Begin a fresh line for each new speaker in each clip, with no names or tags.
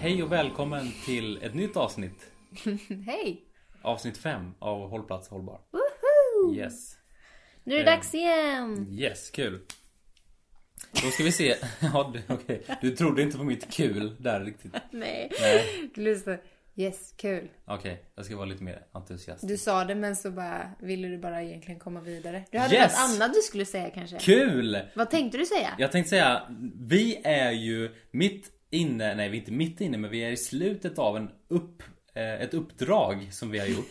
Hej och välkommen till ett nytt avsnitt.
Hej!
Avsnitt 5 av Hållplats Hållbar.
Woho!
Yes.
Nu är det
Eh.
dags igen!
Yes, kul. Då ska vi se. Ja, du, okej. du trodde inte på mitt kul där riktigt.
Nej,
Nej.
du lyssnar. Yes, kul.
Okej, jag ska vara lite mer entusiastisk.
Du sa det men så bara ville du bara egentligen komma vidare. Du hade
Yes!
något annat du skulle säga kanske?
Kul!
Vad tänkte du säga?
Jag tänkte säga, vi är ju mitt inne, nej vi är inte mitt inne, men vi är i slutet av en upp, eh, ett uppdrag som vi har gjort.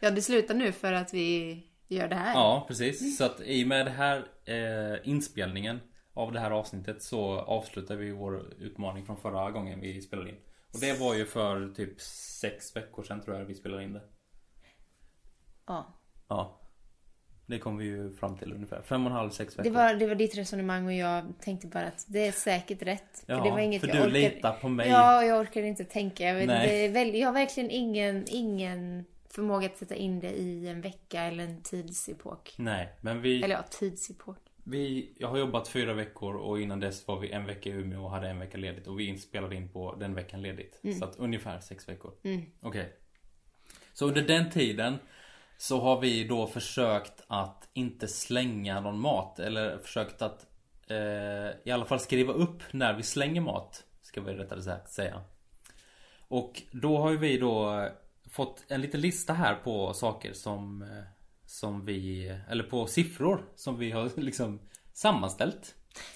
Ja, det slutar nu för att vi gör det här.
Ja, precis. Så att i och med den här eh, inspelningen av det här avsnittet så avslutar vi vår utmaning från förra gången vi spelade in. Och det var ju för typ sex veckor sedan tror jag vi spelade in det.
Ja.
Ja. Det kom vi ju fram till ungefär. Fem och en halv, sex veckor.
Det, var, det var ditt resonemang och jag tänkte bara att det är säkert rätt.
Ja,
det var inget
för
jag
du
orkar...
litar på mig.
Ja, jag orkar inte tänka. Jag, vet,
Nej.
det är väl, jag har verkligen ingen, ingen förmåga att sätta in det i en vecka eller en tidsepok.
Nej, men vi,
Eller ja, tidsepok.
vi... Jag har jobbat fyra veckor och innan dess var vi en vecka i Umeå och hade en vecka ledigt. Och vi inspelade in på den veckan ledigt. Så att ungefär sex veckor. Okej. Så under den tiden så har vi då försökt att inte slänga någon mat eller försökt att eh, i alla fall skriva upp när vi slänger mat. Ska vi rättare sagt säga. Och då har ju vi då eh, fått en liten lista här på saker som eh, som vi, eller på siffror som vi har liksom sammanställt.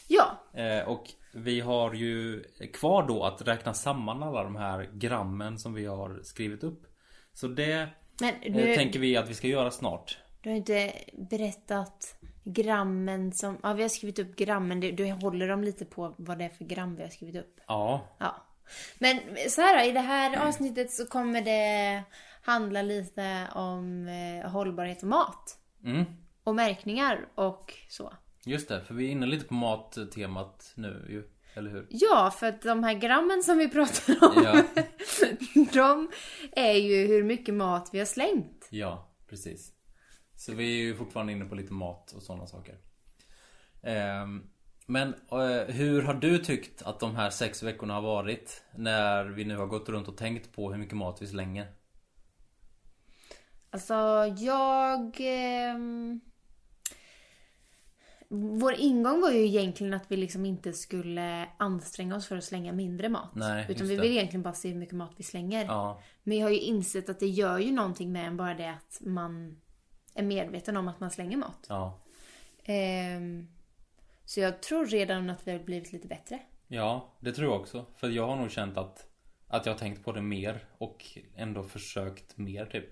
Ja,
Eh, Och vi har ju kvar då att räkna samman alla de här grammen som vi har skrivit upp. Så det
men
eh,
nu,
tänker vi att vi ska göra snart.
du har inte berättat grammen som... Ja, vi har skrivit upp grammen. Du, du håller dem lite på vad det är för gram vi har skrivit upp.
Ja,
Ja. Men så här då, i det här
Mm.
avsnittet så kommer det handla lite om eh, hållbarhet och mat.
mm.
Och märkningar och så.
just det. För vi är inne lite på mattemat nu ju. Eller hur?
Ja, för att de här grammen som vi pratar om,
Ja,
de är ju hur mycket mat vi har slängt.
ja precis. Så vi är ju fortfarande inne på lite mat och sådana saker. Ehm, Men eh, hur har du tyckt att de här sex veckorna har varit? När vi nu har gått runt och tänkt på hur mycket mat vi slänger.
Alltså, jag... ehm, Vår ingång var ju egentligen att vi liksom inte skulle anstränga oss för att slänga mindre mat.
Nej,
utan
just
vi
det.
vill egentligen bara se hur mycket mat vi slänger.
Ja,
Men jag har ju insett att det gör ju någonting med en bara det att man är medveten om att man slänger mat.
ja.
Ehm, så jag tror redan att vi har blivit lite bättre.
Ja, det tror jag också. För jag har nog känt att, att jag har tänkt på det mer och ändå försökt mer typ.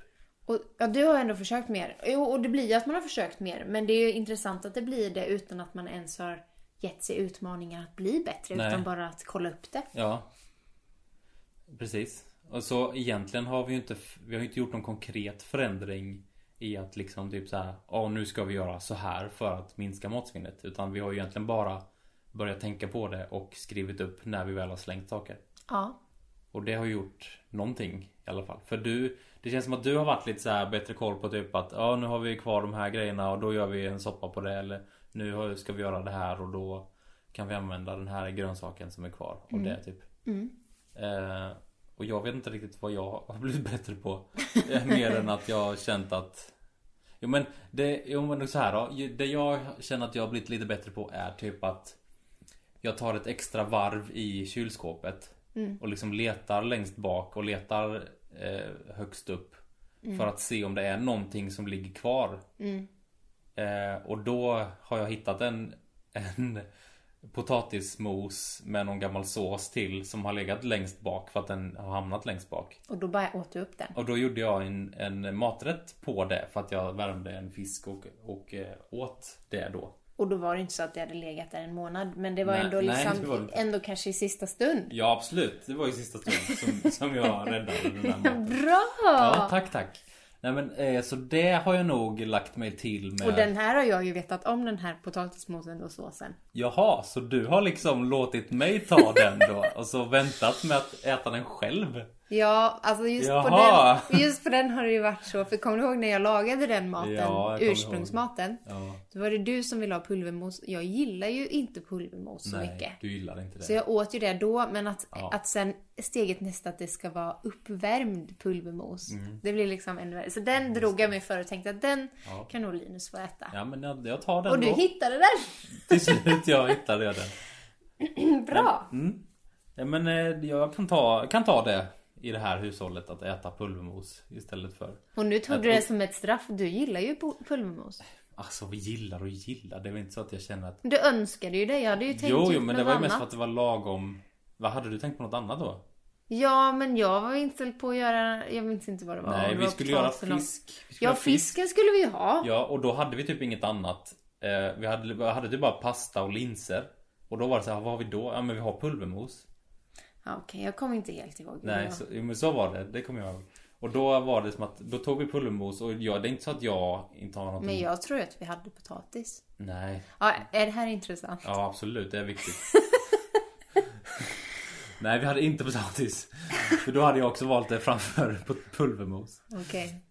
Och, ja, du har ändå försökt mer. Jo, och det blir ju att man har försökt mer. Men det är ju intressant att det blir det utan att man ens har gett sig utmaningar att bli bättre.
Nej.
Utan bara att kolla upp det.
Ja. Precis. Och så egentligen har vi ju inte, f- vi har ju inte gjort någon konkret förändring i att liksom typ så här, ja nu ska vi göra så här för att minska matsvinnet. Utan vi har ju egentligen bara börjat tänka på det och skrivit upp när vi väl har slängt saker.
Ja.
Och det har ju gjort någonting i alla fall. För du, det känns som att du har varit lite så här bättre koll på typ att ja nu har vi kvar de här grejerna och då gör vi en soppa på det. Eller nu har- ska vi göra det här och då kan vi använda den här grönsaken som är kvar. Och det typ.
Mm.
Eh, och jag vet inte riktigt vad jag har blivit bättre på. Eh, Mer än att jag har känt att Jo men, det, jo, men så här då. Ju- Det jag känner att jag har blivit lite bättre på är typ att jag tar ett extra varv i kylskåpet. Och liksom letar längst bak och letar eh, högst upp. För att se om det är någonting som ligger kvar. Eh, och då har jag hittat en, en potatismos med någon gammal sås till som har legat längst bak för att den har hamnat längst bak.
Och då bara åt du upp den.
Och då gjorde jag en, en maträtt på det för att jag värmde en fisk och, och eh, åt det då.
Och då var det inte så att det hade legat där en månad. Men det var
Nej,
ändå
nej,
liksom,
det var det inte.
ändå kanske i sista stund.
Ja absolut, det var ju sista stund som, som jag räddade den där maten.
Bra!
Ja, tack tack. Nej men eh, så det har jag nog lagt mig till med.
och den här har jag ju vetat om den här potatismosen och såsen.
Jaha, så du har liksom låtit mig ta den då och så väntat med att äta den själv.
Ja, alltså just på,
Jaha.
den, just på den har det ju varit så. För kommer du ihåg när jag lagade den maten?
Ja, jag kommer ihåg.
ursprungsmaten.
Ja.
Då var det du som ville ha pulvermos. Jag gillar ju inte pulvermos så
Nej,
mycket.
du gillar inte det.
Så jag åt ju det då, men att,
Ja.
att sen steget nästa att det ska vara uppvärmd pulvermos.
Mm.
Det blir liksom ännu värre. Så den drog jag mig för och tänkte att den
Ja.
kan nog Linus få äta.
Ja men jag, jag tar den
och du
då.
hittade den!
Till slut jag hittade jag den. Mm.
Bra!
Ja, men eh, jag kan ta, kan ta det i det här hushållet att äta pulvermos istället för
Och nu tog du det som ett straff. Du gillar ju pul- pulvermos.
Alltså vi gillar och gillar. Det är väl inte så att jag känner att
Du önskade ju det. Jag hade ju tänkt
Jo
ut
jo men det
något
var ju mest
annat.
för att det var lagom Vad hade du tänkt på något annat då?
Ja, men jag var inställd på att göra... Jag minns inte vad det var. Om
Nej
det
vi
var
skulle göra
potatis eller något.
fisk. Vi skulle
Ja,
göra
fisken skulle vi ju ha.
Ja och då hade vi typ inget annat. Eh, vi hade, vi hade typ bara pasta och linser. Och då var det så här, vad har vi då? Ja men vi har pulvermos.
Ja, Okej, jag kommer inte helt ihåg. hur det
Nej,
var.
så, jo, men så var det. Det kommer jag ihåg. Och då var det som att, då tog vi pulvermos och jag, det är inte så att jag inte har någonting.
Men jag tror att vi hade potatis.
Nej,
Ja, är det här intressant?
ja absolut det är viktigt. Nej vi hade inte potatis. För då hade jag också valt det framför pul- pulvermos.
Okej.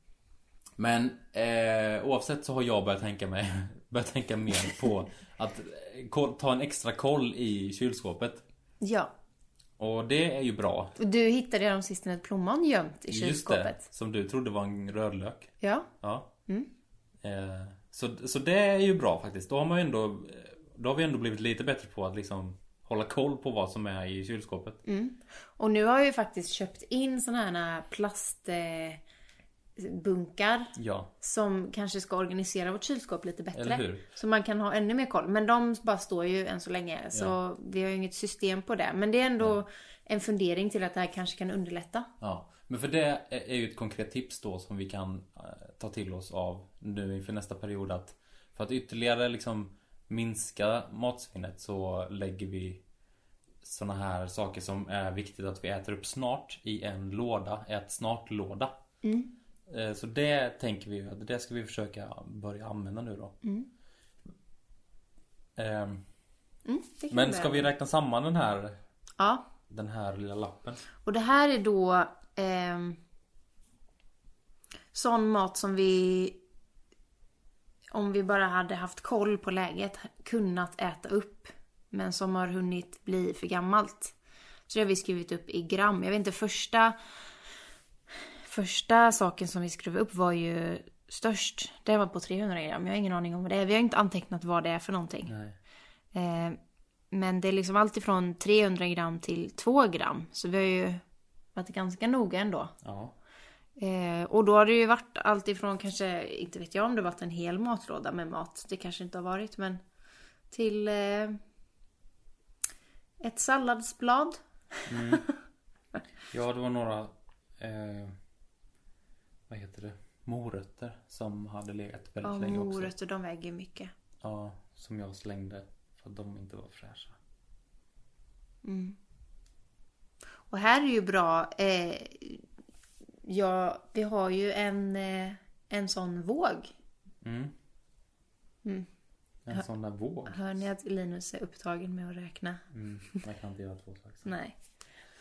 Men eh, oavsett så har jag börjat tänka mig Börjat tänka mer på att eh, ko- ta en extra koll i kylskåpet.
Ja.
Och det är ju bra.
Och Du hittade om sistone ett plommon gömt i
Just det,
kylskåpet.
som du trodde var en rödlök.
Ja.
Ja. Eh, så, så det är ju bra faktiskt. Då har man ju ändå Då har vi ändå blivit lite bättre på att liksom Hålla koll på vad som är i kylskåpet.
Och nu har jag ju faktiskt köpt in såna här eh, plastbunkar.
Ja.
Som kanske ska organisera vårt kylskåp lite bättre.
Eller hur?
Så man kan ha ännu mer koll. Men de bara står ju än så länge. Så
Ja.
vi har ju inget system på det. Men det är ändå en fundering till att det här kanske kan underlätta.
ja. Men för det är är ju ett konkret tips då som vi kan eh, ta till oss av nu inför nästa period att För att ytterligare liksom minska matsvinnet så lägger vi såna här saker som är viktigt att vi äter upp snart i en låda, ät snart-låda. Eh, Så det tänker vi ju att det ska vi försöka börja använda nu då. Ehm,
Mm, det kan
Men
det.
ska vi räkna samman den här,
Ja.
den här lilla lappen?
Och det här är då ehm, sån mat som vi om vi bara hade haft koll på läget kunnat äta upp. Men som har hunnit bli för gammalt. Så det har vi skrivit upp i gram. Jag vet inte, första första saken som vi skrev upp var ju störst. Det var på 300 gram. Jag har ingen aning om vad det är. Vi har ju inte antecknat vad det är för någonting.
Nej.
Eh, men det är liksom allt ifrån 300 gram till 2 gram. Så vi har ju varit ganska noga ändå.
Ja.
Eh, och då har det ju varit allt ifrån kanske, inte vet jag om det varit en hel matlåda med mat. Det kanske inte har varit men. Till eh, ett salladsblad.
Ja, det var några eh, Vad heter det? Morötter som hade legat väldigt
Ja,
länge också.
morötter de väger mycket.
Ja, som jag slängde för att de inte var fräscha.
Och här är ju bra. Eh, ja, vi har ju en, eh, en sån våg.
Mm.
Mm.
En sån där våg.
Hör ni att Linus är upptagen med att räkna?
Mm. Jag kan inte göra två saker.
Nej.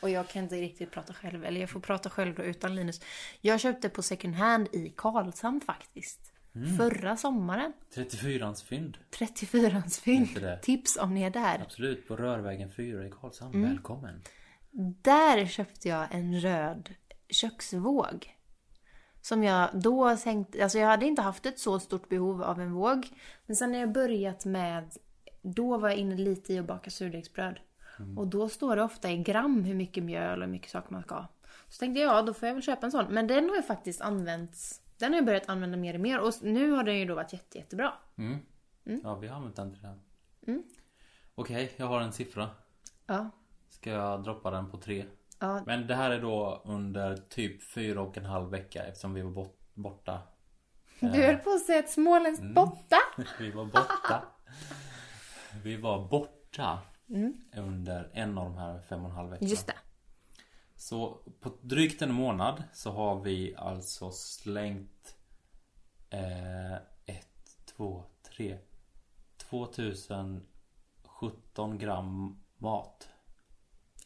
Och jag kan inte riktigt prata själv. Eller jag får prata själv då utan Linus. Jag köpte på second hand i Karlshamn faktiskt.
Mm.
Förra sommaren.
34ans fynd.
34ans
Inte det.
fynd. Tips om ni är där.
Absolut, på Rörvägen 4 i Karlshamn.
Mm.
Välkommen.
Där köpte jag en röd köksvåg. Som jag då tänkte, alltså jag hade inte haft ett så stort behov av en våg. Men sen när jag börjat med, då var jag inne lite i att baka surdegsbröd. Och då står det ofta i gram hur mycket mjöl och hur mycket saker man ska ha. Så tänkte jag, ja då får jag väl köpa en sån. Men den har ju faktiskt använts, den har jag börjat använda mer och mer. Och nu har den ju då varit jätte, jättebra. Mm.
Ja, vi har använt den till det här. Okej, jag har en siffra.
Ja,
Ska jag droppa den på tre?
Ja.
Men det här är då under typ fyra och en halv vecka eftersom vi var bort, borta.
du höll på att säga ett småländskt botta.
Vi var borta. vi var borta under en av de här fem och en halv veckorna.
Mm. Just det.
Så på drygt en månad så har vi alltså slängt eh, ett, två, tre 2017 gram mat.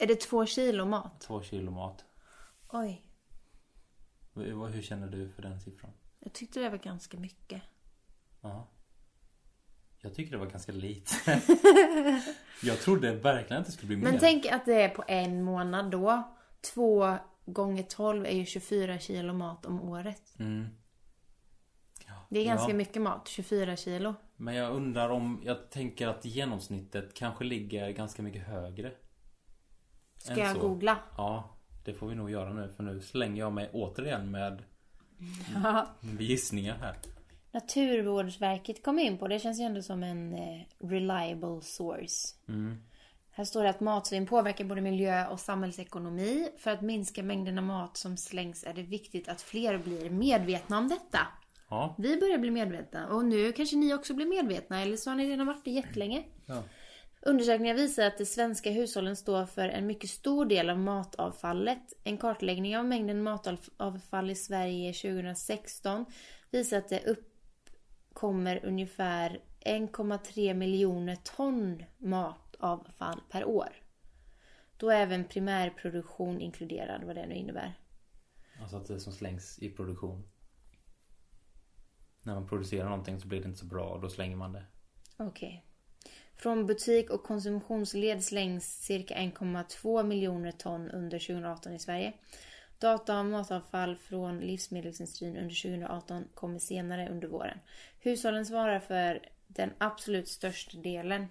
Är det två kilo mat?
Två kilo mat.
Oj,
Hur hur känner du för den siffran?
jag tyckte det var ganska mycket.
Ja. Jag tycker det var ganska lite. jag trodde verkligen att det skulle bli mer.
Men tänk att det är på en månad då. Två gånger 12 är ju 24 kilo mat om året.
Mm.
Det är ganska
Ja.
mycket mat, 24 kilo.
Men jag undrar om, jag tänker att genomsnittet kanske ligger ganska mycket högre.
Ska
än
jag
så. Mm.
googla?
Ja, det får vi nog göra nu för nu slänger jag mig återigen med gissningar här.
Naturvårdsverket kom in på, det känns ju ändå som en eh, reliable source.
Mm.
Här står det att matsvinn påverkar både miljö och samhällsekonomi. För att minska mängderna mat som slängs är det viktigt att fler blir medvetna om detta.
Ja.
Vi börjar bli medvetna och nu kanske ni också blir medvetna eller så har ni redan varit det jättelänge.
ja.
Undersökningar visar att de svenska hushållen står för en mycket stor del av matavfallet. En kartläggning av mängden matavfall i Sverige 2016 visar att det uppkommer ungefär 1,3 miljoner ton matavfall per år. Då är även primärproduktion inkluderad, vad det nu innebär.
Alltså att det som slängs i produktion. När man producerar någonting så blir det inte så bra och då slänger man det.
Okej. Från butik och konsumtionsled slängs cirka 1,2 miljoner ton under 2018 i Sverige. Data om matavfall från livsmedelsindustrin under 2018 kommer senare under våren. Hushållen svarar för den absolut största delen,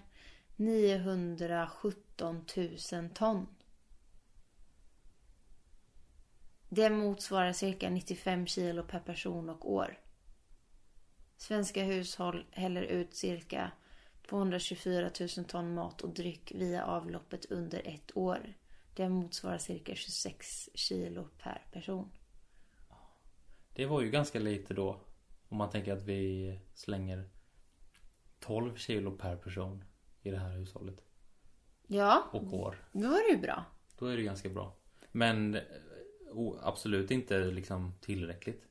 917 000 ton. Det motsvarar cirka 95 kilo per person och år. Svenska hushåll häller ut cirka 224 000 ton mat och dryck via avloppet under ett år. Det motsvarar cirka 26 kilo per person.
Det var ju ganska lite då. Om man tänker att vi slänger 12 kilo per person i det här hushållet.
Ja,
Och år.
då var det ju bra.
Då är det ganska bra. Men eh, o- absolut inte liksom tillräckligt.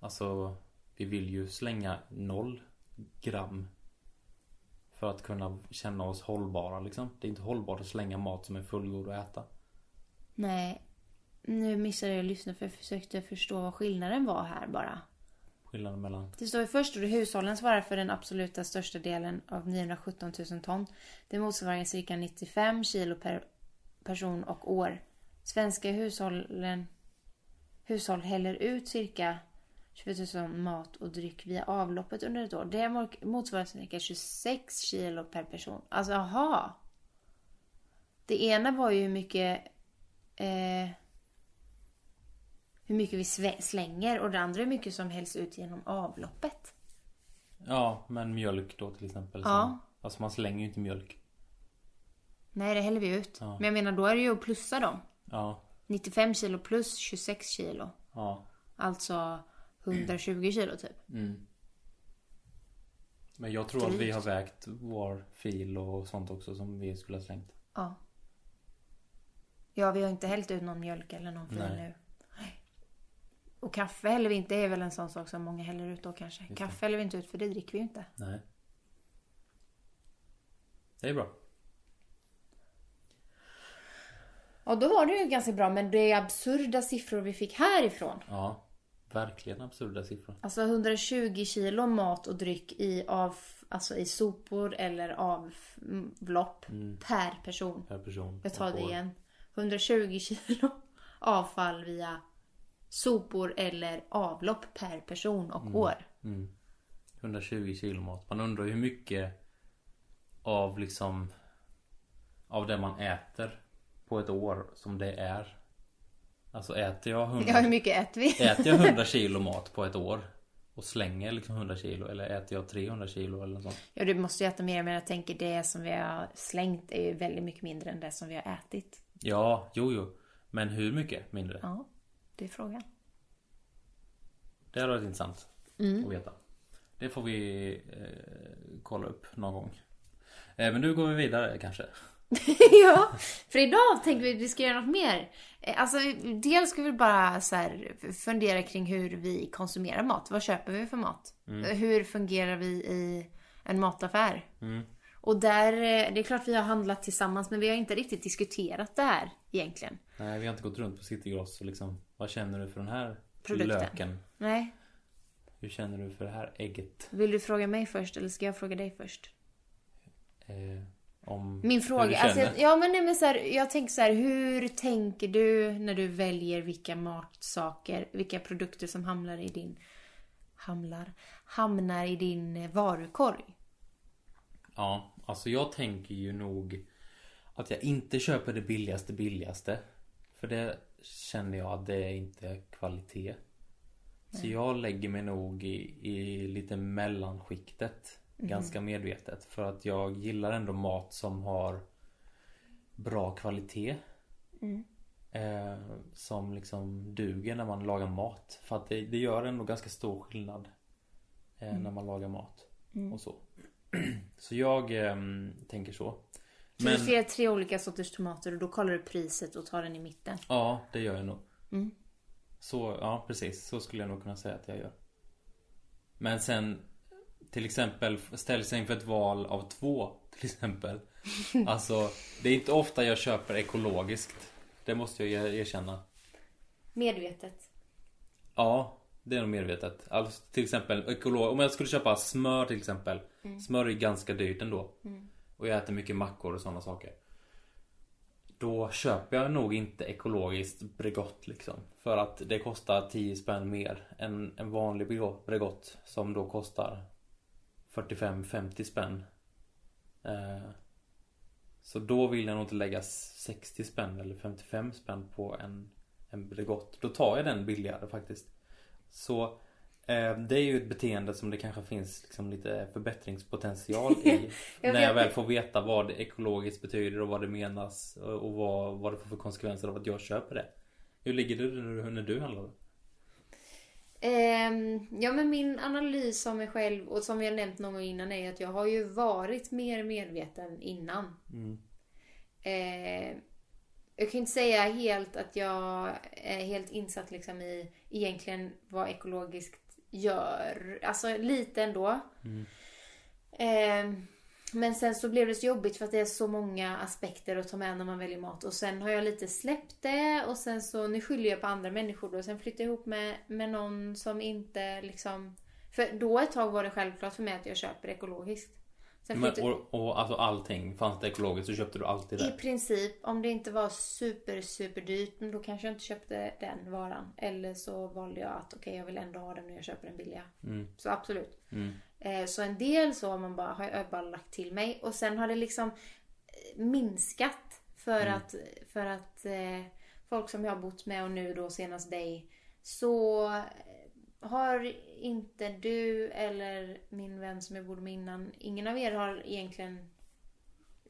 Alltså vi vill ju slänga noll gram. För att kunna känna oss hållbara liksom. Det är inte hållbart att slänga mat som är fullgod att äta.
Nej, nu missade jag att lyssna för jag försökte förstå vad skillnaden var här bara.
Skillnaden mellan...
Det står ju först att hushållen svarar för den absoluta största delen av 917 000 ton. Det motsvarar cirka 95 kilo per person och år. Svenska hushållen, hushåll häller ut cirka 20 000 mat och dryck via avloppet under ett år. Det mor- motsvarar cirka 26 kilo per person. Alltså, aha. Det ena var ju hur mycket eh, hur mycket vi sve- slänger och det andra är hur mycket som hälls ut genom avloppet.
Ja men mjölk då till exempel.
Ja.
Som, alltså man slänger ju inte mjölk.
Nej, det häller vi ut.
Ja.
Men jag menar, då är det ju att plussa dem.
Ja.
95 kilo plus 26 kilo.
Ja.
Alltså 120 kilo typ.
Mm. Men jag tror att vi har vägt vår fil och sånt också som vi skulle ha slängt.
Ja. Ja, vi har inte hällt ut någon mjölk eller någon fil
Nej.
nu. Nej. Och kaffe häller vi inte. Det är väl en sån sak som många häller ut då kanske.
det.
Kaffe häller vi inte ut för det dricker vi ju inte.
Nej. Det är bra.
Ja, då var det ju ganska bra. Men det är absurda siffror vi fick härifrån.
Ja. Verkligen absurda siffror.
Alltså 120 kilo mat och dryck i, av, alltså i sopor eller avlopp
Mm.
per person.
Per person.
Jag tar
och
det
år.
igen. 120 kilo avfall via sopor eller avlopp per person och år.
120 kilo mat. Man undrar ju hur mycket av liksom av det man äter på ett år som det är. Alltså äter jag 100
Ja, hur mycket äter vi?
Äter jag 100 kilo mat på ett år och slänger liksom 100 kilo eller äter jag 300 kilo eller något sånt?
Ja, du måste ju äta mer, men jag tänker det som vi har slängt är ju väldigt mycket mindre än det som vi har ätit.
Ja, jo, jo. Men hur mycket mindre?
Ja, det är frågan.
Det hade varit intressant
Mm.
att veta. Det får vi eh, kolla upp någon gång. Eh, men nu går vi vidare kanske.
ja, för idag tänker vi att vi ska göra något mer. Eh, Alltså, dels ska vi bara så här fundera kring hur vi konsumerar mat. Vad köper vi för mat? Eh, Hur fungerar vi i en mataffär? Och där, eh, det är klart vi har handlat tillsammans men vi har inte riktigt diskuterat det här egentligen.
Nej, vi har inte gått runt på Citygross och liksom Vad känner du för den här
Produkten.
löken?
Nej,
Hur känner du för det här ägget?
vill du fråga mig först eller ska jag fråga dig först?
Eh, om
Min
hur du
fråga,
känner.
alltså, ja men, nej, men så här, jag tänker så här, hur tänker du när du väljer vilka matsaker, vilka produkter som hamnar i din, hamnar, hamnar i din eh, varukorg?
Ja, alltså jag tänker ju nog att jag inte köper det billigaste billigaste. För det känner jag att det är inte kvalitet. Så jag lägger mig nog i, i lite mellanskiktet. Ganska medvetet. För att jag gillar ändå mat som har bra kvalitet. Eh, som liksom duger när man lagar mat. För att det, det gör ändå ganska stor skillnad. Eh, När man lagar mat. Och så. Så jag ehm, tänker så.
Så du ser tre olika sorters tomater och då kollar du priset och tar den i mitten.
Ja, det gör jag nog. Så, ja precis. Så skulle jag nog kunna säga att jag gör. Men sen till exempel ställer sig inför ett val av två till exempel. Alltså, det är inte ofta jag köper ekologiskt. Det måste jag er- erkänna.
Medvetet.
Ja, det är nog medvetet. Alltså, till exempel ekolog- om jag skulle köpa smör till exempel. Smör är ju ganska dyrt ändå. Och jag äter mycket mackor och sådana saker. Då köper jag nog inte ekologiskt Bregott liksom. För att det kostar 10 spänn mer än en vanlig Brego- Bregott som då kostar 45-50 spänn. Eh, så då vill jag nog inte lägga 60 spänn eller 55 spänn på en, en Bregott. Då tar jag den billigare faktiskt. Så eh, det är ju ett beteende som det kanske finns liksom lite förbättringspotential i. när
Jag vet
jag väl
det.
får veta vad det ekologiskt betyder och vad det menas och och vad, vad det får för konsekvenser av att jag köper det. Hur ligger du när du, när du handlar?
Ehm, ja men min analys av mig själv och som jag nämnt någon gång innan är att jag har ju varit mer medveten innan. Ehm, jag kan inte säga helt att jag är helt insatt liksom i egentligen vad ekologiskt gör. Alltså lite ändå.
Mm.
Ehm, men sen så blev det så jobbigt för att det är så många aspekter att ta med när man väljer mat. Och sen har jag lite släppt det och sen så, nu skyller jag på andra människor då. Sen flyttade jag ihop med, med någon som inte liksom... För då ett tag var det självklart för mig att jag köper ekologiskt. Sen
Men,
flyttade-
och, och alltså allting, fanns det ekologiskt så köpte du alltid det?
i princip, om det inte var super, super dyrt, men då kanske jag inte köpte den varan. Eller så valde jag att okej, jag vill ändå ha den och jag köper den billiga.
Mm,
Så absolut. Eh, Så en del så har man bara, har jag bara lagt till mig. Och sen har det liksom eh, minskat för att, för att eh, folk som jag har bott med och nu då senast dig så eh, har inte du eller min vän som jag bodde med innan, ingen av er har egentligen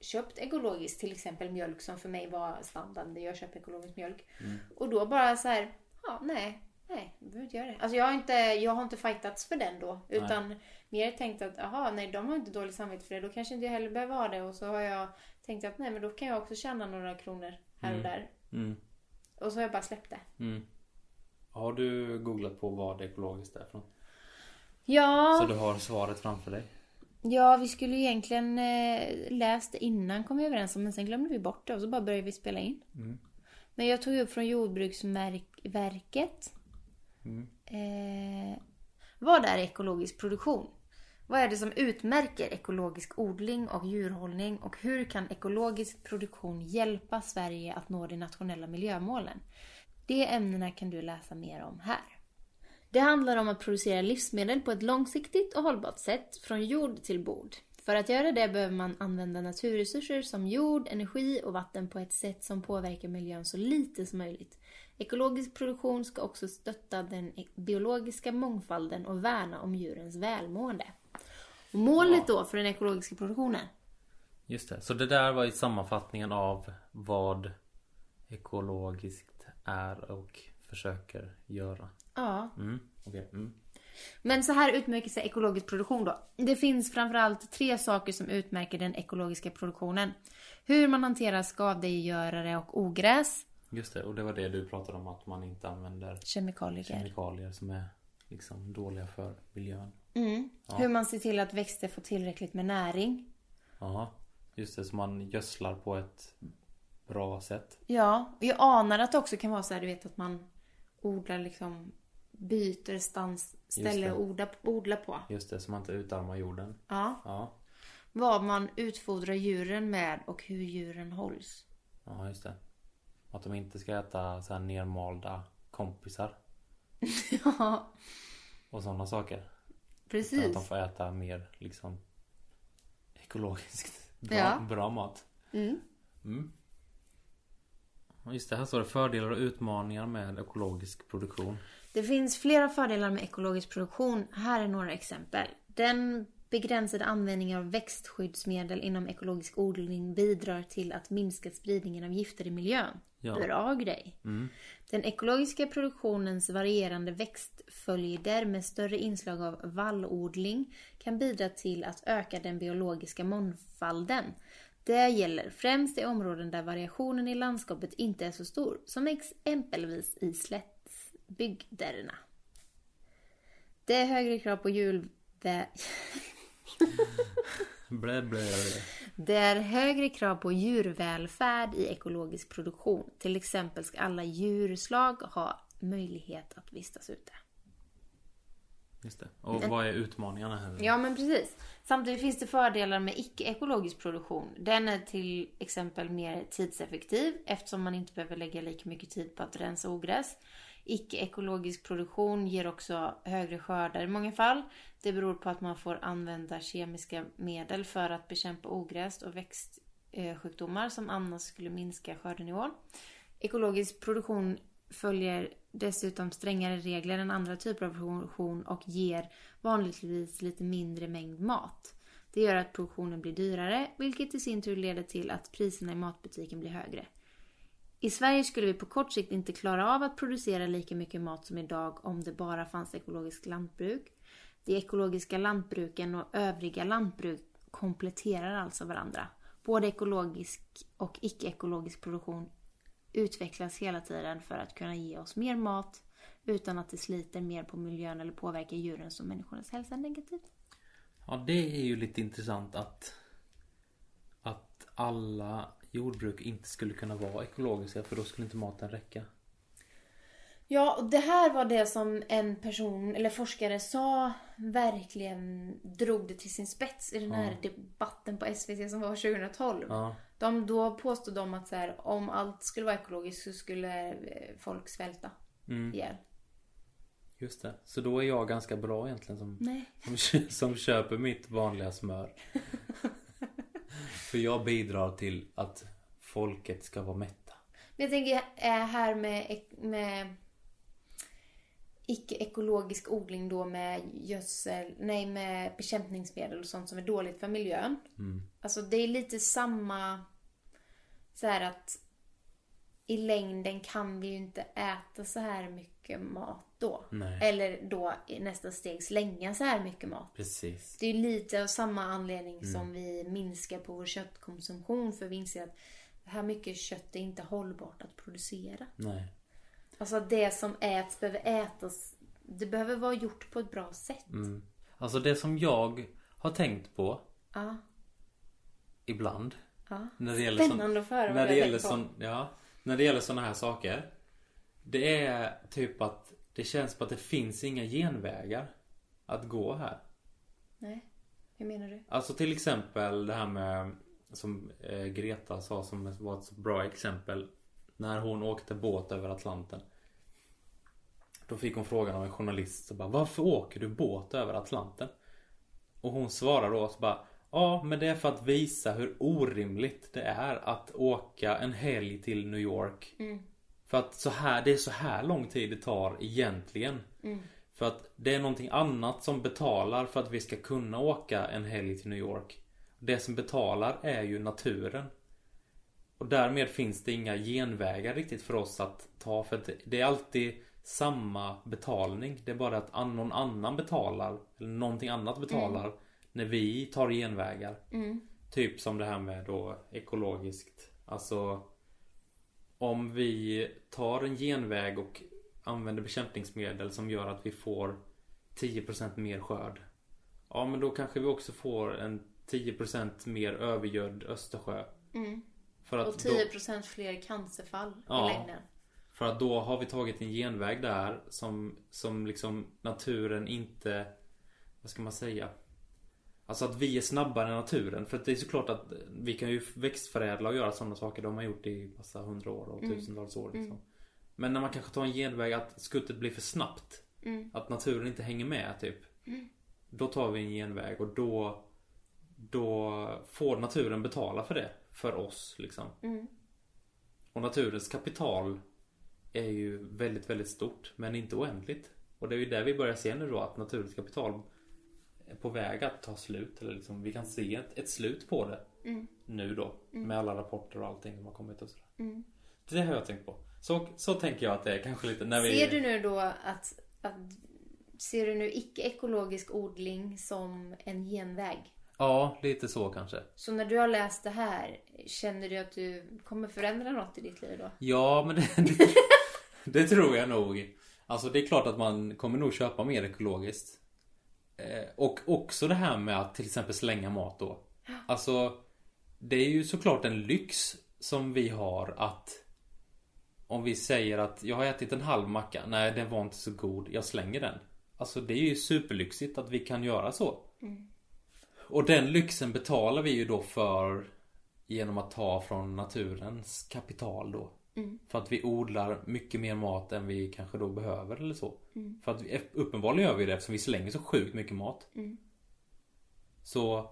köpt ekologiskt, till exempel mjölk som för mig var standard. Jag köper ekologisk mjölk.
Mm.
Och då bara så här, ja nej, nej, jag behöver inte göra det. Alltså jag har inte, jag har inte fightats för den då. Utan mer tänkt att, aha, nej de har inte dåligt samvete för det. Då kanske inte jag heller behöver ha det. Och så har jag tänkt att nej men då kan jag också tjäna några kronor här och där.
Mm.
Och så har jag bara släppt det.
Mm. Har du googlat på vad ekologiskt är för något?
Ja,
Så du har svaret framför dig?
ja vi skulle ju egentligen eh, läst det innan kom vi överens om. Men sen glömde vi bort det och så bara började vi spela in. Men jag tog upp från Jordbruksverket. Eh, vad är ekologisk produktion? Vad är det som utmärker ekologisk odling och djurhållning och hur kan ekologisk produktion hjälpa Sverige att nå de nationella miljömålen? De ämnena kan du läsa mer om här. Det handlar om att producera livsmedel på ett långsiktigt och hållbart sätt från jord till bord. För att göra det behöver man använda naturresurser som jord, energi och vatten på ett sätt som påverkar miljön så lite som möjligt. Ekologisk produktion ska också stötta den e- biologiska mångfalden och värna om djurens välmående. Och Målet då för den ekologiska produktionen?
Just det. Så det där var ju sammanfattningen av vad ekologiskt är och försöker göra.
Ja,
Mm. Okej. Mm.
Men så här utmärker sig ekologisk produktion då. Det finns framförallt tre saker som utmärker den ekologiska produktionen. Hur man hanterar skadegörare och ogräs,
Just det. Och det var det du pratade om att man inte använder
kemikalier.
kemikalier som är liksom dåliga för miljön.
Mm. Hur man ser till att växter får tillräckligt med näring.
Jaha. Just det, så man gödslar på ett bra sätt.
Ja, och jag anar att det också kan vara så här, du vet att man odlar liksom, byter stans, ställe
det.
att odla, odla på.
Just det, så man inte utarmar jorden.
Ja.
Ja,
Vad man utfodrar djuren med och hur djuren hålls.
ja just det. Att de inte ska äta så här nermalda kompisar
Ja,
och sådana saker. Utan att
precis.
de får äta mer liksom ekologiskt bra,
Ja.
bra mat.
Mm.
Mm. Ja, Just det, här står det fördelar och utmaningar med ekologisk produktion.
Det finns flera fördelar med ekologisk produktion. Här är några exempel. Den begränsade användningen av växtskyddsmedel inom ekologisk odling bidrar till att minska spridningen av gifter i miljön.
Ja.
Bra grej! Den ekologiska produktionens varierande växtföljder med större inslag av vallodling kan bidra till att öka den biologiska mångfalden. Det gäller främst i områden där variationen i landskapet inte är så stor, som exempelvis i slättbygderna. Det är högre krav på djurvä-
Blä, blä, blä.
det är högre krav på djurvälfärd i ekologisk produktion. Till exempel ska alla djurslag ha möjlighet att vistas ute.
Just det.
Mm.
Och vad är utmaningarna här?
Ja, men precis. Samtidigt finns det fördelar med icke-ekologisk produktion. Den är till exempel mer tidseffektiv eftersom man inte behöver lägga lika mycket tid på att rensa ogräs. Icke-ekologisk produktion ger också högre skördar i många fall. Det beror på att man får använda kemiska medel för att bekämpa ogräs och växtsjukdomar eh, som annars skulle minska skördenivån. Ekologisk produktion följer dessutom strängare regler än andra typer av produktion och ger vanligtvis lite mindre mängd mat. Det gör att produktionen blir dyrare, vilket i sin tur leder till att priserna i matbutiken blir högre. I Sverige skulle vi på kort sikt inte klara av att producera lika mycket mat som idag om det bara fanns ekologiskt lantbruk. De ekologiska lantbruken och övriga lantbruk kompletterar alltså varandra. Både ekologisk och icke-ekologisk produktion utvecklas hela tiden för att kunna ge oss mer mat utan att det sliter mer på miljön eller påverkar djurens och människornas hälsa negativt.
Ja, det är ju lite intressant att att alla jordbruk inte skulle kunna vara ekologiska för då skulle inte maten räcka.
Ja, och det här var det som en person, eller forskare, sa verkligen drog det till sin spets i den här debatten på SVT som var 2012.
Ja,
De, då påstod de att så här, om allt skulle vara ekologiskt så skulle eh, folk svälta ihjäl.
just det. Så då är jag ganska bra egentligen som,
Nej.
som, kö- som köper mitt vanliga smör. för jag bidrar till att folket ska vara mätta.
Men jag tänker eh, här med, ek- med icke-ekologisk odling då med gödsel, nej med bekämpningsmedel och sånt som är dåligt för miljön.
Mm.
Alltså det är lite samma så här att i längden kan vi ju inte äta så här mycket mat då.
Nej.
Eller då i nästa steg slänga så här mycket mat.
Precis.
Det är ju lite av samma anledning
Mm.
som vi minskar på vår köttkonsumtion för vi inser att det här mycket kött är inte hållbart att producera.
Nej.
Alltså det som äts behöver ätas. Det behöver vara gjort på ett bra sätt.
Mm. Alltså det som jag har tänkt på
Ja,
ibland.
ja.
När det gäller
Spännande att få höra vad
när
du
det
har
gäller
tänkt på.
sån, ja, När det gäller sådana här saker. Det är typ att det känns på att det finns inga genvägar att gå här.
Nej. Hur menar du?
Alltså till exempel det här med som eh, Greta sa som var ett så bra exempel. När hon åkte båt över Atlanten. Då fick hon frågan av en journalist. Så bara, Varför åker du båt över Atlanten? Och hon svarar då så bara Ja men det är för att visa hur orimligt det är att åka en helg till New York.
Mm,
För att så här, det är så här lång tid det tar egentligen. För att det är någonting annat som betalar för att vi ska kunna åka en helg till New York. Det som betalar är ju naturen. Och därmed finns det inga genvägar riktigt för oss att ta för att det- det är alltid samma betalning. Det är bara att an- någon annan betalar eller någonting annat betalar när vi tar genvägar.
mm,
Typ som det här med då ekologiskt. Alltså om vi tar en genväg och använder bekämpningsmedel som gör att vi får 10% mer skörd. Ja men då kanske vi också får en 10% mer övergödd Östersjö.
Mm.
För
Och
att, då,
10% fler cancerfall
Ja.
i längden.
för att då har vi tagit en genväg där som, som liksom naturen inte... Vad ska man säga? Alltså att vi är snabbare än naturen. För att det är såklart att vi kan ju växtförädla och göra sådana saker. De har gjort i massa hundra år och tusentals år. Liksom. Men när man kanske tar en genväg att skuttet blir för snabbt.
Mm.
Att naturen inte hänger med typ. Då tar vi en genväg och då Då får naturen betala för det. För oss liksom.
Mm.
Och naturens kapital är ju väldigt, väldigt stort men inte oändligt. Och det är ju där vi börjar se nu då att naturens kapital är på väg att ta slut. Eller liksom, vi kan se ett, ett slut på det
Mm.
nu då. Med alla rapporter och allting som har kommit och sådär.
Mm.
Det har jag tänkt på. Så, så tänker jag att det är kanske lite när vi...
Ser du nu då att, att Ser du nu icke-ekologisk odling som en genväg?
Ja, lite så kanske.
Så när du har läst det här, känner du att du kommer förändra något i ditt liv då?
Ja, men det, det, det tror jag nog. Alltså det är klart att man kommer nog köpa mer ekologiskt. Eh, och också det här med att till exempel slänga mat då. Alltså det är ju såklart en lyx som vi har att om vi säger att jag har ätit en halv macka, nej den var inte så god, jag slänger den. Alltså det är ju superlyxigt att vi kan göra så. Och den lyxen betalar vi ju då för genom att ta från naturens kapital då. För att vi odlar mycket mer mat än vi kanske då behöver eller så.
Mm,
För att vi, eh, uppenbarligen gör vi det eftersom vi slänger så sjukt mycket mat.
mm,
Så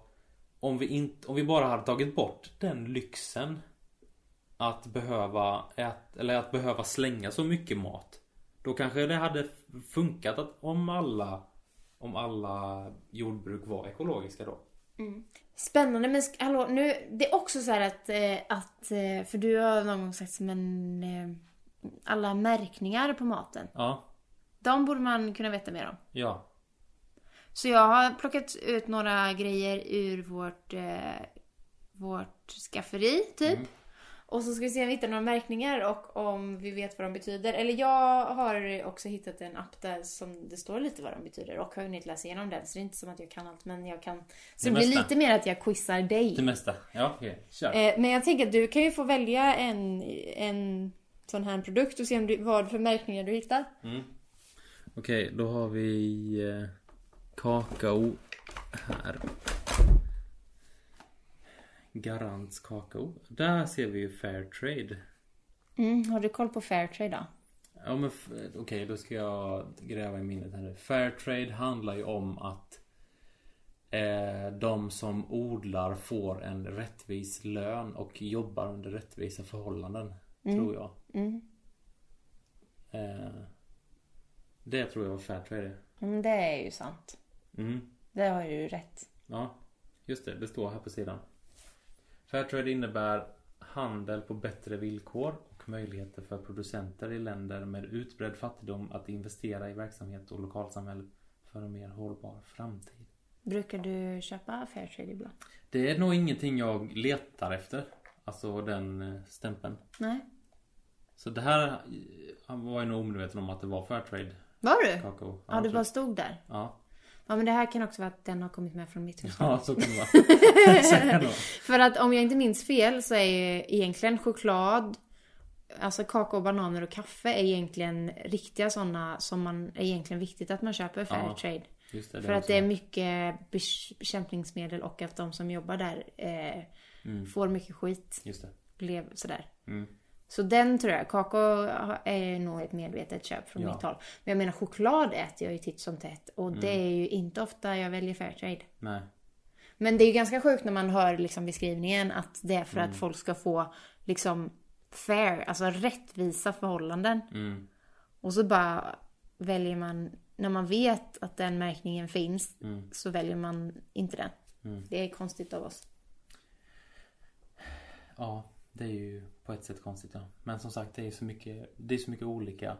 om vi, inte, om vi bara hade tagit bort den lyxen att behöva, ät, eller att behöva slänga så mycket mat. Då kanske det hade funkat att om alla, om alla jordbruk var ekologiska då.
mm. Spännande men sk- hallå, nu, det är också så här att, eh, att eh, för du har någon gång sagt men eh, alla märkningar på maten,
Ja,
de borde man kunna veta mer om.
ja.
Så jag har plockat ut några grejer ur vårt, eh, vårt skafferi typ.
Mm.
Och så ska vi se om vi hittar några märkningar och om vi vet vad de betyder. Eller jag har också hittat en app där som det står lite vad de betyder och har hunnit läsa igenom den. Så det är inte som att jag kan allt men jag kan. Så det,
Det
blir
mesta.
lite mer att jag quizar dig.
Det mesta. Ja, okej. Kör.
Eh, Men jag tänker att du kan ju få välja en, en sån här produkt och se om du, vad för märkningar du hittar.
Okej, då har vi eh, kakao här. Garants kakao. Där ser vi ju fair trade.
Mm, har du koll på Fairtrade då?
Ja men f- eh, okej, då ska jag gräva i minnet här nu. Fairtrade handlar ju om att eh, de som odlar får en rättvis lön och jobbar under rättvisa förhållanden.
Mm.
Tror jag. Eh, det tror jag var Fairtrade är.
Mm, det är ju sant.
Mm.
Det har du ju rätt.
Ja, just det. Det står här på sidan. Fairtrade innebär handel på bättre villkor och möjligheter för producenter i länder med utbredd fattigdom att investera i verksamhet och lokalsamhälle för en mer hållbar framtid.
Brukar du köpa Fairtrade ibland?
Det är nog ingenting jag letar efter. Alltså den eh, stämpeln.
Nej.
Så det här eh, han var jag nog omedveten om att det var Fairtrade
Var du? Ja,
kakao.
du
jag tror-
bara stod där.
ja.
Ja, men det här kan också vara att den har kommit med från mitt hus.
ja, så kan det vara. så kan det vara.
För att om jag inte minns fel så är ju egentligen choklad, alltså kakao, bananer och kaffe är egentligen riktiga sådana som man är egentligen viktigt att man köper Fairtrade.
Just det, det
För att
också.
det är mycket bekä- bekämpningsmedel och att de som jobbar där eh, får mycket skit.
Just det.
Lev, sådär.
Mm.
Så den tror jag, kakao har- är nog ett medvetet köp från
Ja.
mitt håll. Men jag menar choklad äter jag ju titt som tätt och det
Mm.
är ju inte ofta jag väljer Fairtrade.
Nej.
Men det är ju ganska sjukt när man hör liksom beskrivningen att det är för
Mm.
att folk ska få liksom fair, alltså rättvisa förhållanden.
Mm.
Och så bara väljer man, när man vet att den märkningen finns,
Mm.
så väljer man inte den. Det är konstigt av oss.
Ja, det är ju på ett sätt konstigt. Ja. Men som sagt, det är ju så mycket, det är så mycket olika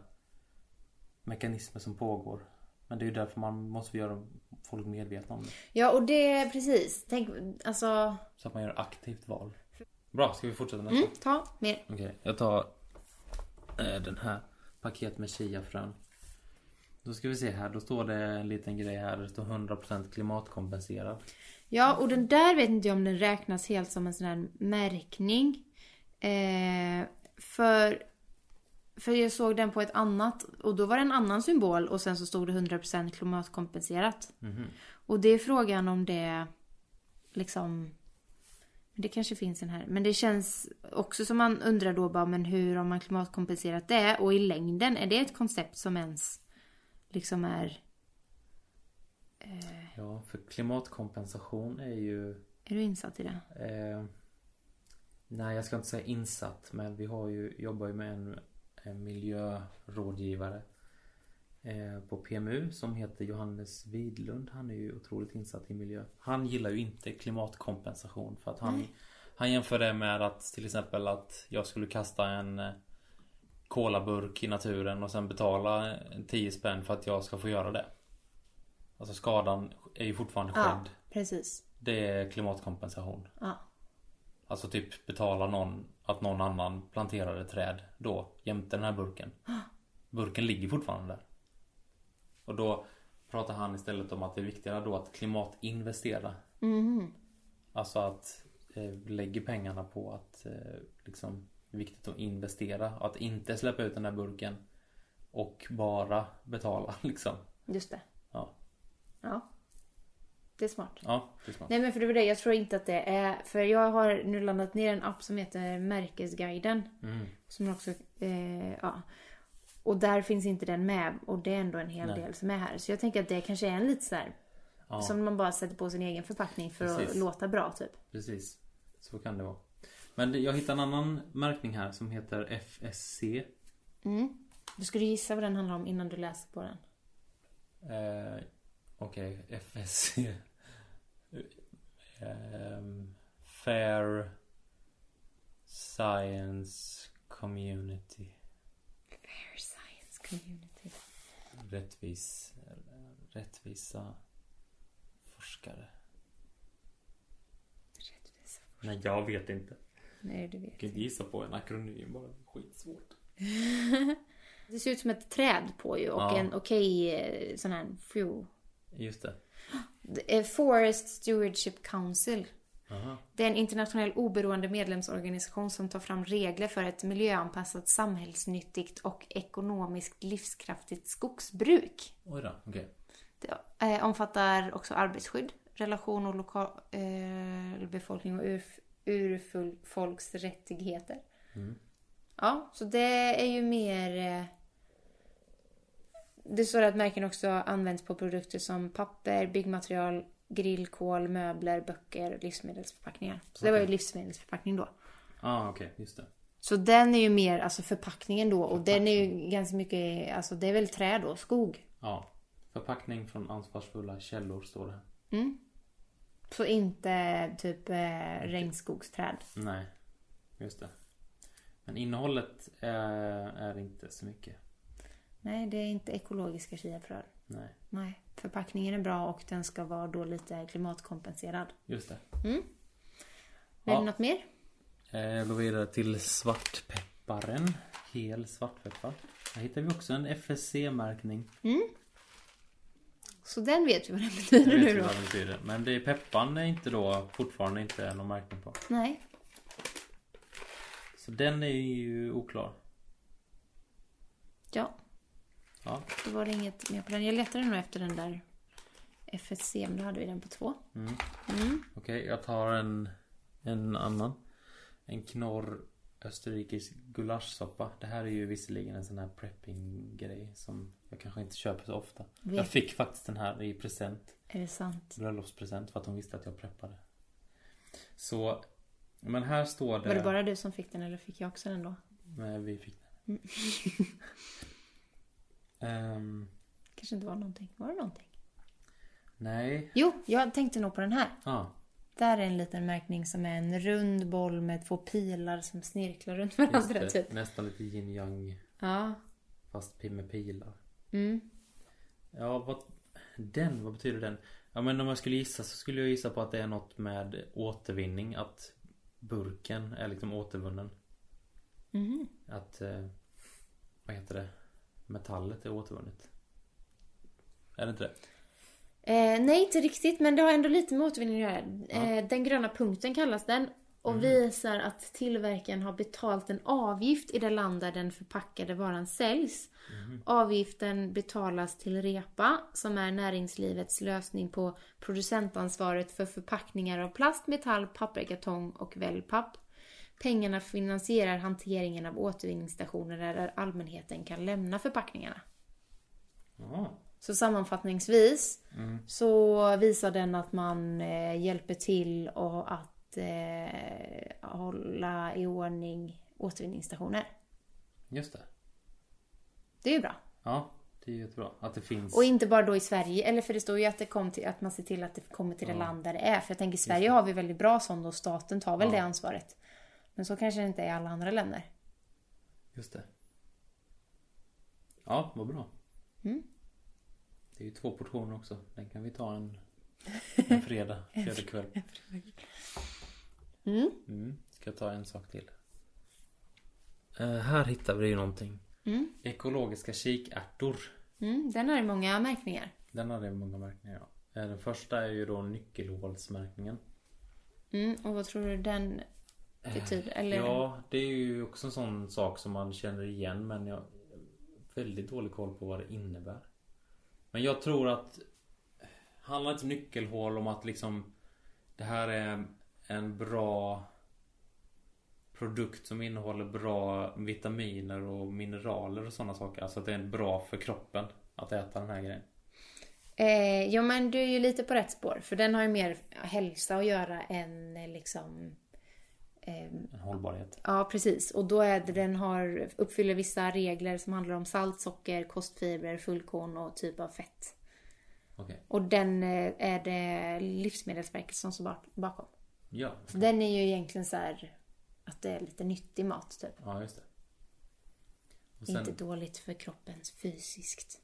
mekanismer som pågår. Men det är ju därför man måste göra folk medvetna om det.
Ja, och det, precis. Tänk, alltså,
Så att man gör aktivt val. Bra, ska vi fortsätta nästa?
mm, ta mer.
Okej, jag tar eh, den här. Paket med chiafrön. Då ska vi se här, då står det en liten grej här. Det står 100% klimatkompenserad.
Ja, och den där vet inte jag om den räknas helt som en sån här märkning. Eh, för, för jag såg den på ett annat och då var det en annan symbol och sen så stod det 100% klimatkompenserat. Och det är frågan om det liksom... Det kanske finns en här. Men det känns också som man undrar då bara, men hur har man klimatkompenserat det? Och i längden, är det ett koncept som ens liksom är...
Ja, för klimatkompensation är ju...
Är du insatt i det?
Eh, nej, jag ska inte säga insatt, men vi har ju, jobbar ju med en, en miljörådgivare eh, på PMU som heter Johannes Widlund. Han är ju otroligt insatt i miljö. Han gillar ju inte klimatkompensation för att han, han jämför det med att till exempel att jag skulle kasta en eh, kolaburk i naturen och sen betala eh, 10 spänn för att jag ska få göra det. Alltså skadan är ju fortfarande skedd.
Ja, precis.
Det är klimatkompensation.
Ja.
Alltså typ betala någon att någon annan planterar ett träd då jämte den här burken. Burken ligger fortfarande där. Och då pratar han istället om att det är viktigare då att klimatinvestera.
Mhm.
Alltså att eh, lägga pengarna på att eh, liksom viktigt att investera. Att inte släppa ut den här burken och bara betala liksom.
Just det.
Ja,
Ja. Det är smart.
ja det är smart.
Nej men för det var det, jag tror inte att det är... För jag har nu landat ner en app som heter Märkesguiden.
Mm.
Som också... Eh, ja. Och där finns inte den med och det är ändå en hel del som är här. Så jag tänker att det kanske är en lite så här... Som man bara sätter på sin egen förpackning för att
Precis.
låta bra typ.
Precis, så kan det vara. Men det- jag hittade en annan märkning här som heter FSC.
Du skulle gissa vad den handlar om innan du läser på den.
Eh, Okej, FSC. Ehm, fair Science Community.
Fair Science Community.
Rättvis, rättvisa forskare.
Rättvisa.
Nej, jag vet inte.
Nej, du vet.
Jag kan inte gissa på en akronym bara. Skitsvårt.
Det ser ut som ett träd på ju och
Ja.
en okej eh, sån här... Phew.
Just det.
Det är Forest Stewardship Council.
Aha.
Det är en internationell oberoende medlemsorganisation som tar fram regler för ett miljöanpassat, samhällsnyttigt och ekonomiskt livskraftigt skogsbruk.
Oj då, okej.
Det eh, omfattar också arbetsskydd, relation och lokalbefolkning och urf- urfolks rättigheter.
Mm.
Ja, så det är ju mer... eh, Det står att märken också används på produkter som papper, byggmaterial, grillkol, möbler, böcker och livsmedelsförpackningar. Så det var ju livsmedelsförpackning då.
Ah, okej, just det.
Så den är ju mer alltså förpackningen då och den är ju ganska mycket, alltså det är väl trä då, skog.
Ja. Förpackning från ansvarsfulla källor står det.
Mm. Så inte typ eh, regnskogsträd.
Nej, just det. Men innehållet är, är inte så mycket.
Nej, det är inte ekologiska chiafrön.
Nej,
Nej, förpackningen är bra och den ska vara då lite klimatkompenserad.
just det.
Är
Ja.
det något mer?
Eh, Jag går vidare till svartpepparen. Hel svartpeppar. Här hittar vi också en FSC-märkning.
Så den vet vi vad den betyder nu då.
det betyder. Men det är pepparn är inte då fortfarande inte någon märkning på.
Nej.
Så den är ju oklar.
Ja,
Ja,
då var det inget mer på den. Jag letade nog efter den där FSC, men då hade vi den på två.
Mm. Okej, jag tar en, en annan. En knorr österrikisk gulaschsoppa. Det här är ju visserligen en sån här prepping-grej som jag kanske inte köper så ofta.
Vet.
Jag fick faktiskt den här i present.
Är det sant?
Bröllopspresent för att hon visste att jag preppade. Så, men här står det...
Var det bara du som fick den eller fick jag också den då?
Nej, vi fick
Mm.
den. Ehm,
kanske inte var någonting. Var det någonting?
nej.
Jo, jag tänkte nog på den här.
Ah,
Där är en liten märkning som är en rund boll med två pilar som snirklar runt
just
varandra typ.
det. Nästan lite yin yang
Ja.
fast pi- med pilar.
Mm.
Ja, vad... Den, vad betyder den? Ja men om jag skulle gissa så skulle jag gissa på att det är något med återvinning. Att burken är liksom återvunnen. Att, eh, vad heter det? Metallet är återvunnet. Är det inte det?
Eh, nej, inte riktigt, men det har ändå lite med återvinning att göra. Eh, den gröna punkten kallas den och visar att tillverkaren har betalt en avgift i det land där den förpackade varan säljs. Avgiften betalas till REPA, som är näringslivets lösning på producentansvaret för förpackningar av plast, metall, papper, kartong och wellpapp. Pengarna finansierar hanteringen av återvinningsstationer där allmänheten kan lämna förpackningarna.
Ja.
Så sammanfattningsvis så visar den att man eh, hjälper till och att eh, hålla i ordning återvinningsstationer.
Just det.
Det är ju bra.
Ja, det är jättebra. Att det finns.
Och inte bara då i Sverige, eller för det står ju att, det kom till, att man ser till att det kommer till det land där det är. För jag tänker i Sverige har vi väldigt bra sånt och staten tar väl det ansvaret. Men så kanske det inte är i alla andra länder.
Just det. Ja, vad bra. Mm. Det är ju två portioner också. Den kan vi ta en, en fredag, fredagkväll. Mm. Ska jag ta en sak till? Eh, här hittar vi ju någonting. Mm. Ekologiska kikärtor.
Mm, den har ju många märkningar.
Den hade ju många märkningar. Ja. Eh, Den första är ju då nyckelhålsmärkningen.
Mm, och vad tror du den betyder? Eller,
Ja, det är ju också en sån sak som man känner igen men jag har väldigt dålig koll på vad det innebär. Men jag tror att handlar inte nyckelhål om att liksom det här är en bra produkt som innehåller bra vitaminer och mineraler och sådana saker. Alltså att det är bra för kroppen att äta den här grejen.
Eh, ja men du är ju lite på rätt spår. För den har ju mer hälsa att göra än eh, liksom... ehm,
En hållbarhet.
ja precis. Och då är det, den har, uppfyller vissa regler som handlar om salt, socker, kostfibrer, fullkorn och typ av fett.
Okej.
Och den eh, är det Livsmedelsverket som står bak- bakom.
Ja.
Så den är ju egentligen så här att det är lite nyttig mat typ.
ja, just det. Och sen-
Inte dåligt för kroppen fysiskt.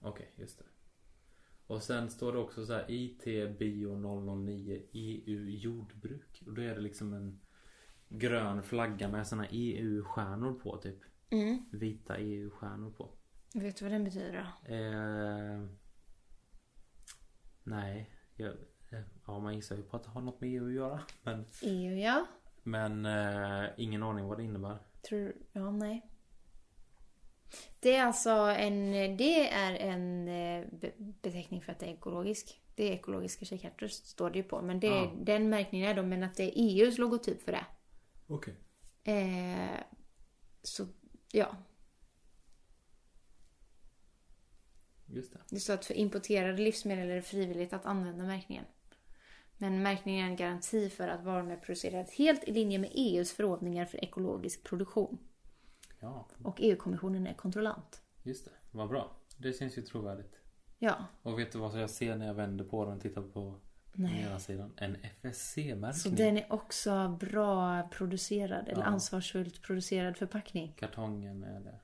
Okej, just det. Och sen står det också så här IT Bio 009 EU E Jordbruk. Och då är det liksom en grön flagga med såna EU-stjärnor på typ. Vita EU-stjärnor på.
Mm. Vet du vad den betyder då?
Eh, nej, jag, eh, ja, man gissar ju på att det har något med EU att göra. Men,
EU E ja.
men eh, ingen aning vad det innebär.
Tror Ja, nej. Det är alltså en, det är en eh, be- beteckning för att det är ekologisk. Det är ekologiska kikärtor står det ju på. Men det är,
Ja.
den märkningen är då, men att det är EUs logotyp för det.
Okej.
Eh, så ja,
Just det.
det står att för importerade livsmedel är det frivilligt att använda märkningen. Men märkningen är en garanti för att varorna är producerade helt i linje med EUs förordningar för ekologisk produktion.
Ja,
Och EU-kommissionen är kontrollant.
just det. Vad bra. Det känns ju trovärdigt.
Ja,
Och vet du vad jag ser när jag vänder på den och tittar på den ena sidan? En
Så
FSC-märkning.
den är också bra producerad, eller ansvarsfullt producerad förpackning.
Kartongen är det.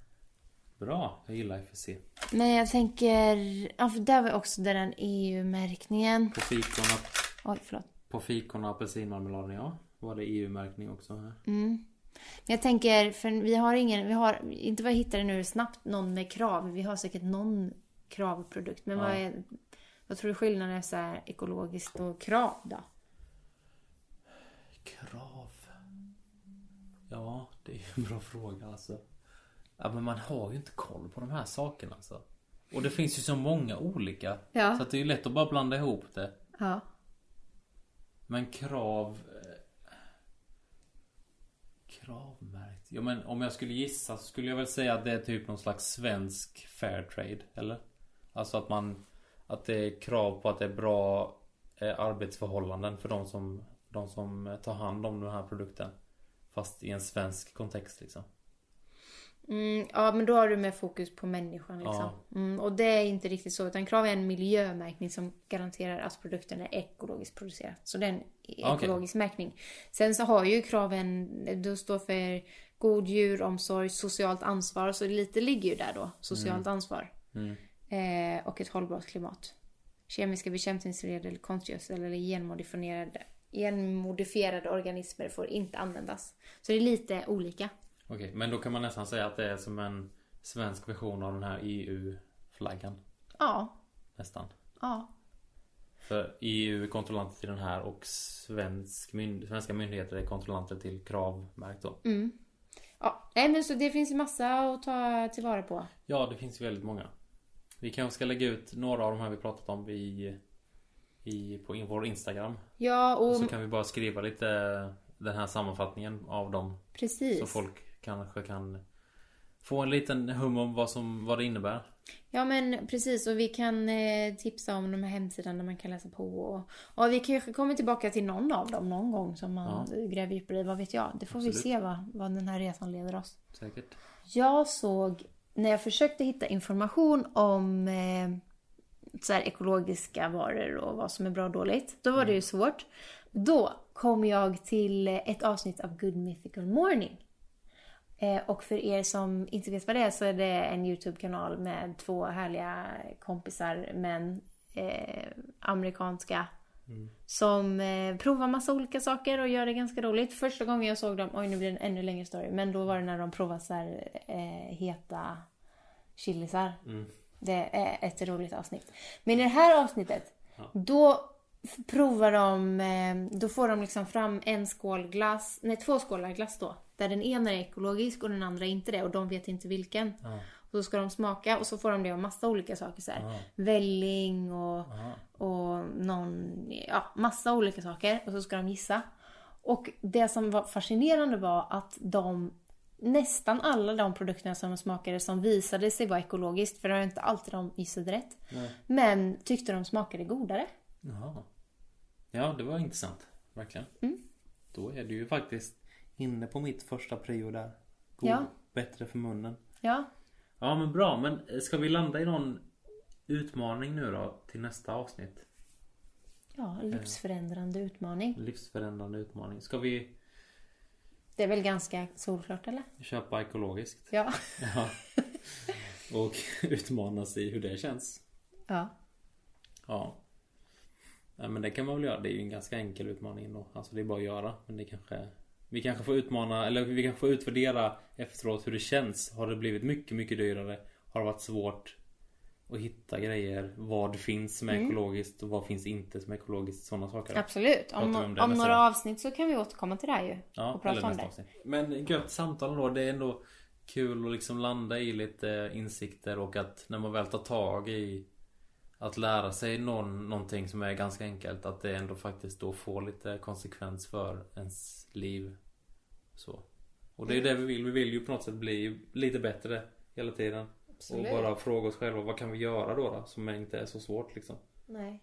Bra, jag gillar FSC.
Men jag tänker, ja för där var också där den EU-märkningen.
På fikon och,
Oj, förlåt.
på fikon och apelsinmarmeladen ja. Var det EU-märkning också
Mm.
här?
Men jag tänker, för vi har ingen, vi har, inte vad jag hittade nu snabbt, någon med krav. Vi har säkert någon kravprodukt. Men vad, är, vad tror du skillnaden är så här ekologiskt och krav då?
Krav. Ja, det är ju en bra fråga alltså. Ja, men man har ju inte koll på de här sakerna alltså. Och det finns ju så många olika.
Ja.
Så att det är ju lätt att bara blanda ihop det.
Ja.
Men krav... eh, Kravmärkt? Ja men om jag skulle gissa så skulle jag väl säga att det är typ någon slags svensk fairtrade, eller? Alltså att man... Att det är krav på att det är bra eh, arbetsförhållanden för de som, de som eh, tar hand om den här produkten. Fast i en svensk kontext liksom.
Mm, ja, men då har du mer fokus på människan. Liksom. Mm, och det är inte riktigt så. Utan krav är en miljömärkning som garanterar att produkten är ekologiskt producerad. Så det är en
okej.
ekologisk märkning. Sen så har ju kraven, då står för god djuromsorg, socialt ansvar. Så lite ligger ju där då. Socialt ansvar. Eh, och ett hållbart klimat. Kemiska bekämpningsmedel, konstgödsel eller genmodifierade, genmodifierade organismer får inte användas. Så det är lite olika.
Okej, men då kan man nästan säga att det är som en svensk version av den här EU-flaggan.
Ja,
E Nästan.
Ja.
För EU är kontrollanter till den här och svensk mynd- svenska myndigheter är kontrollanter till Kravmärkt då.
Mm. Ja, nej men så det finns ju massa att ta tillvara på.
Ja, det finns ju väldigt många. Vi kanske ska lägga ut några av de här vi pratat om i, i, på in, vår Instagram.
Ja, och
Och så kan vi bara skriva lite eh, den här sammanfattningen av dem.
precis.
Så folk kanske kan få en liten hum om vad, som, vad det innebär.
Ja men precis och vi kan eh, tipsa om de här hemsidan där man kan läsa på och, och vi kanske kommer tillbaka till någon av dem någon gång som man gräver djupare i, vad vet jag. Det får vi
Absolut.
se vad, vad den här resan leder oss.
Säkert.
Jag såg, när jag försökte hitta information om eh, så här, ekologiska varor och vad som är bra och dåligt, då var det ju svårt. Då kom jag till eh, ett avsnitt av Good Mythical Morning. Eh, och för er som inte vet vad det är så är det en YouTube-kanal med två härliga kompisar, män, eh, amerikanska. Som eh, provar massa olika saker och gör det ganska roligt. Första gången jag såg dem, oj nu blir det en ännu längre story, men då var det när de provade så här, eh, heta chilisar.
Mm.
Det är ett roligt avsnitt. Men i det här avsnittet, då f- provar de, eh, då får de liksom fram en skål glass, nej två skålar glass då. Där den ena är ekologisk och den andra inte det och de vet inte vilken. Och så ska de smaka och så får de det av massa olika saker så här. Välling och, och någon, ja massa olika saker. Och så ska de gissa. Och det som var fascinerande var att de nästan alla de produkterna som de smakade som visade sig vara ekologiskt, för det var inte alltid de gissade rätt, men tyckte de smakade godare.
Jaha. Ja, det var intressant. Verkligen. Då är du ju faktiskt inne på mitt första prio där. God,
Ja.
Bättre för munnen.
Ja,
Ja men bra, men eh, ska vi landa i någon utmaning nu då till nästa avsnitt?
ja
Eh.
livsförändrande utmaning.
Livsförändrande utmaning. Ska vi
Det är väl ganska solklart eller?
köpa ekologiskt?
Ja.
Ja. Och utmanas i hur det känns?
ja.
Ja. ja. Men det kan man väl göra. Det är ju en ganska enkel utmaning ändå. Alltså det är bara att göra. Men det kanske... Vi kanske får utmana, eller vi kanske får utvärdera efteråt hur det känns. Har det blivit mycket, mycket dyrare? Har det varit svårt att hitta grejer? Vad finns som är ekologiskt och vad finns inte som är ekologiskt? Sådana saker.
Absolut. Om,
Pratar vi
om,
om det nästa
några
gång?
avsnitt så kan vi återkomma till det här ju. och prata om det.
avsnitt. Men gött samtal då. Det är ändå kul att liksom landa i lite insikter och att när man väl tar tag i att lära sig någon, någonting som är ganska enkelt att det ändå faktiskt då får lite konsekvens för ens liv. Så. Och det är ju
Mm.
det vi vill. Vi vill ju på något sätt bli lite bättre hela tiden.
Absolut.
Och bara fråga oss själva vad kan vi göra då, då som inte är så svårt liksom.
Nej.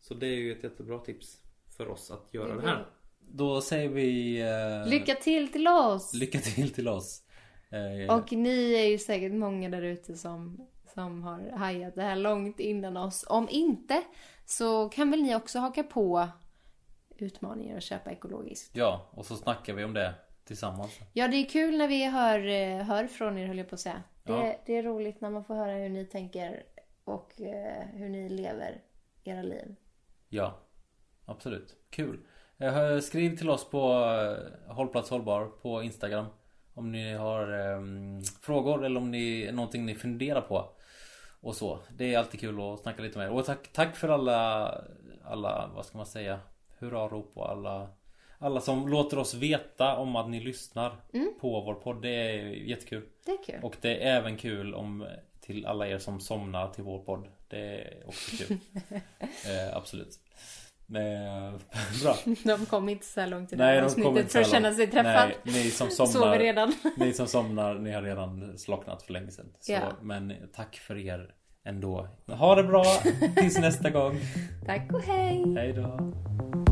Så det är ju ett jättebra tips för oss att göra
Det
det,
är
här.
bra.
Då säger vi... eh,
Lycka till till oss!
Lycka till till oss. Eh,
Och ni är ju säkert många där ute som, som har hajat det här långt innan oss. Om inte så kan väl ni också haka på utmaningen att köpa ekologiskt.
Ja, och så snackar vi om det tillsammans.
Ja, det är kul när vi hör, eh, hör från er höll jag på att säga. Det,
Ja.
det är roligt när man får höra hur ni tänker och eh, hur ni lever era liv.
Ja, absolut. Kul. Eh, hör- Skriv till oss på eh, Hållplats Hållbar på Instagram. Om ni har eh, frågor eller om ni någonting ni funderar på. Och så. Det är alltid kul att snacka lite med er. Och tack, tack för alla, alla, vad ska man säga, hurrarop och alla alla som låter oss veta om att ni lyssnar på vår podd. Det är jättekul.
Det är kul.
Och det är även kul om till alla er som somnar till vår podd. Det är också kul. eh, absolut. Eh, bra.
De kom inte så här långt i det
Nej,
här
de kommer
avsnittet
inte
för att
så här
känna
långt.
sig träffad.
Nej, ni som
Sover
somnar,
redan.
ni som somnar, ni har redan slocknat för länge sedan. Så,
Ja.
Men tack för er ändå. Ha det bra tills nästa gång.
Tack och hej!
Hej då.